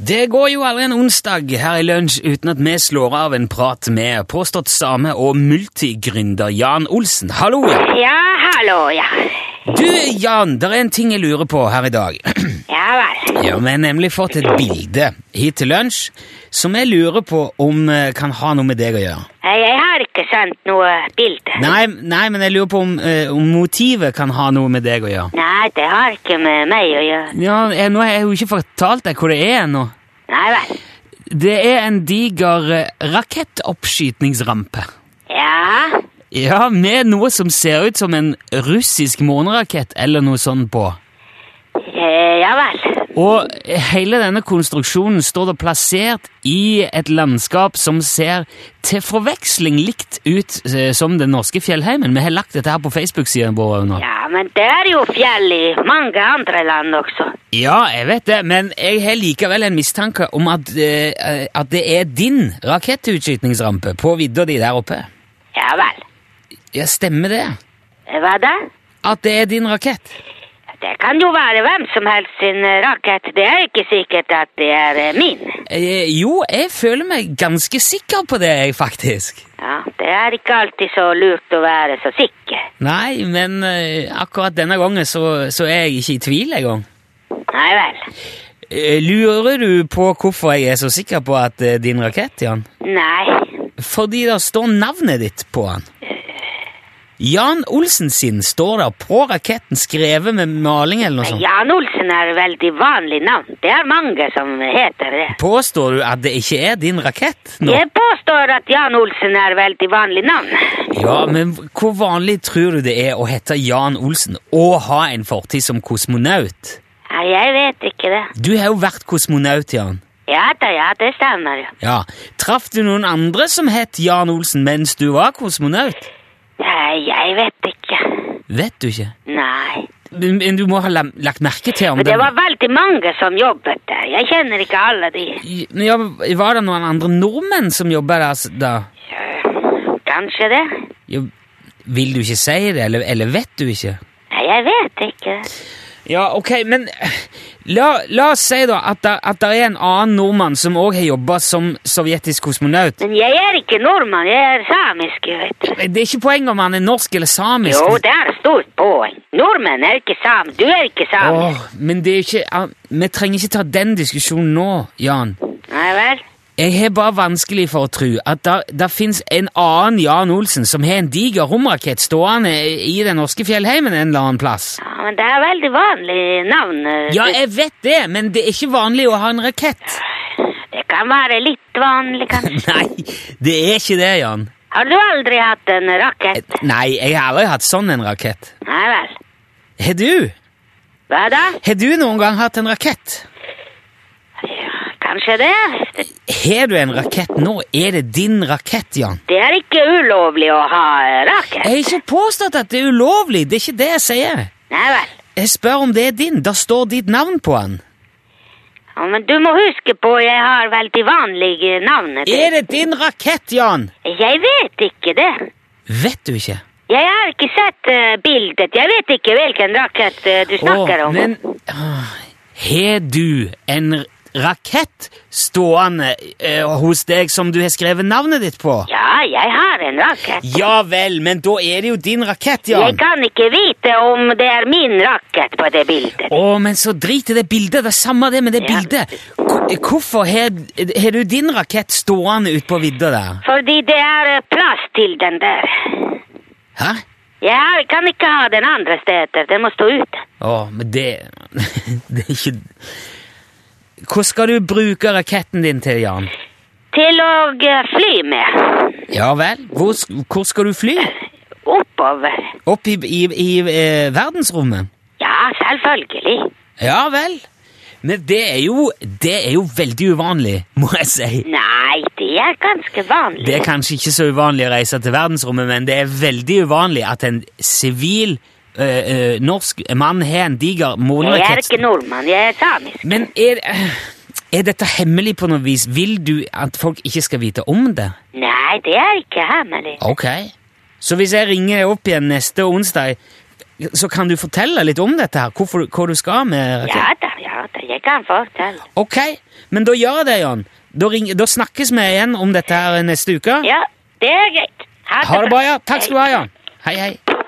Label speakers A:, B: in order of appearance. A: Det går jo aldri en onsdag her i lunsj uten at vi slår av en prat med påstått same og multigründer Jan Olsen. Hallo!
B: Ja, hallo, ja.
A: Du, Jan, det er en ting jeg lurer på her i dag.
B: Ja vel.
A: Ja, Vi har nemlig fått et bilde hit til lunsj som jeg lurer på om eh, kan ha noe med deg å gjøre.
B: Nei, Jeg har ikke sendt noe bilde.
A: Nei, nei men jeg lurer på om, eh, om motivet kan ha noe med deg å gjøre.
B: Nei, det har ikke med meg å gjøre.
A: Ja, jeg, Nå har jeg jo ikke fortalt deg hvor det er ennå.
B: Nei vel.
A: Det er en diger eh, rakettoppskytningsrampe.
B: Ja,
A: Ja, med noe som ser ut som en russisk månerakett eller noe sånt på.
B: eh, ja vel.
A: Og hele denne konstruksjonen står da plassert i et landskap som ser til forveksling likt ut eh, som den norske fjellheimen. Vi har lagt dette her på Facebook-siden vår nå.
B: Ja, men det er jo fjell i mange andre land også.
A: Ja, jeg vet det, men jeg har likevel en mistanke om at, eh, at det er din rakettutskytningsrampe på vidda di der oppe.
B: Ja vel.
A: Ja, stemmer det?
B: Hva da?
A: At det er din rakett?
B: Det kan jo være hvem som helst sin eh, rakett. Det er ikke sikkert at det er eh, min.
A: Eh, jo, jeg føler meg ganske sikker på det, jeg, faktisk.
B: Ja, Det er ikke alltid så lurt å være så sikker.
A: Nei, men eh, akkurat denne gangen så, så er jeg ikke i tvil engang.
B: Nei vel.
A: Eh, lurer du på hvorfor jeg er så sikker på at det er din rakett, Jan?
B: Nei.
A: Fordi det står navnet ditt på den. Jan Olsen sin står der på raketten, skrevet med maling eller noe sånt.
B: Jan Olsen er veldig vanlig navn. Det er mange som heter det.
A: Påstår du at det ikke er din rakett nå?
B: Jeg påstår at Jan Olsen er veldig vanlig navn.
A: Ja, men hvor vanlig tror du det er å hete Jan Olsen og ha en fortid som kosmonaut?
B: Nei, jeg vet ikke det.
A: Du har jo vært kosmonaut, Jan.
B: Ja da, ja, det stemmer jo.
A: Ja. Traff du noen andre som het Jan Olsen mens du var kosmonaut?
B: Nei, jeg vet ikke.
A: Vet du ikke.
B: Nei.
A: Men men du må ha la- lagt merke til om
B: For det var veldig mange som jobbet der. Jeg kjenner ikke alle de.
A: Men ja, var det noen andre nordmenn som jobba der s- da?
B: Eh, Kanskje det?
A: Jo, vil du ikke si det, eller, eller vet du ikke?
B: Nei, jeg vet ikke.
A: Ja, ok, men eh, la, la oss si da at det at der er en annen nordmann som òg har jobba som sovjetisk kosmonaut.
B: Men jeg er ikke nordmann, jeg er samisk, jeg vet du.
A: Det er ikke poenget om han er norsk eller samisk.
B: Jo, det er stort poeng. Nordmenn er ikke sam. Du er ikke samisk.
A: Åh, men det er ikke ah, Vi trenger ikke ta den diskusjonen nå, Jan.
B: Nei vel?
A: Jeg har bare vanskelig for å tro at det fins en annen Jan Olsen som har en diger romrakett stående i den norske fjellheimen en eller annen plass.
B: Ja, men det er veldig vanlig navn. eh,
A: Ja, jeg vet det, men det er ikke vanlig å ha en rakett.
B: Det kan være litt vanlig, kanskje.
A: Nei, det er ikke det, Jan.
B: Har du aldri hatt en rakett?
A: Nei, jeg har aldri hatt sånn en rakett.
B: Nei vel.
A: Har du?
B: Hva da?
A: Har du noen gang hatt en rakett?
B: Ja, kanskje det?
A: Har du en rakett nå? Er det din rakett, Jan?
B: Det er ikke ulovlig å ha eh,
A: Jeg
B: rakett.
A: har ikke påstått at det er ulovlig, det er ikke det jeg sier.
B: Nei vel.
A: Jeg spør om det er din. Da står ditt navn på den.
B: Ja, men du må huske på, jeg har veldig vanlige navn.
A: Er det din rakett, Jan?
B: Jeg vet ikke det.
A: Vet du ikke?
B: Jeg har ikke sett eh, bildet. Jeg vet ikke hvilken rakett eh, du snakker
A: Åh,
B: om.
A: men ah, Har du en r- rakett stående eh, hos deg som du har skrevet navnet ditt på?
B: Ja, jeg har en rakett.
A: Ja vel, men da er det jo din rakett,
B: Jeg
A: Jan.
B: kan ikke vite om det er min rakett på det bildet.
A: Å, men så drit i det bildet. Det er samme det med det
B: Ja.
A: bildet. Hvor- Hvorfor har har du din rakett stående ute på vidda der?
B: Fordi det er eh, plass til den der.
A: Hæ?
B: Jeg har- kan ikke ha den andre steder. Den må stå ute.
A: Å, men det Det er ikke Hva skal du bruke raketten din til, Jan?
B: Til å eh, fly med.
A: Ja vel? Hvor, sk- hvor skal du fly?
B: Oppover.
A: Opp i, i, i eh, verdensrommet?
B: Ja, selvfølgelig.
A: Ja vel? Men det er jo Det er jo veldig uvanlig, må jeg si.
B: Nei, det er ganske vanlig.
A: Det er kanskje ikke så uvanlig å reise til verdensrommet, men det er veldig uvanlig at en sivil eh, eh, norsk mann har en diger
B: Jeg er ikke
A: målerakett.
B: nordmann, jeg er samisk.
A: Men er, eh, er dette hemmelig på noe vis? Vil du at folk ikke skal vite om det?
B: Nei, det er ikke hemmelig.
A: Ok. Så hvis jeg ringer deg opp igjen neste onsdag, Så kan du fortelle litt om dette her, hvorfor, hva du skal med raketten?
B: Ja da, ja da, jeg kan fortelle.
A: Ok, men da gjør jeg det, Jan. Da, ring, da snakkes vi igjen om dette her neste uke.
B: Ja, det er greit.
A: Ha det bra, ja. Takk skal du ha, Jan. Hei, hei.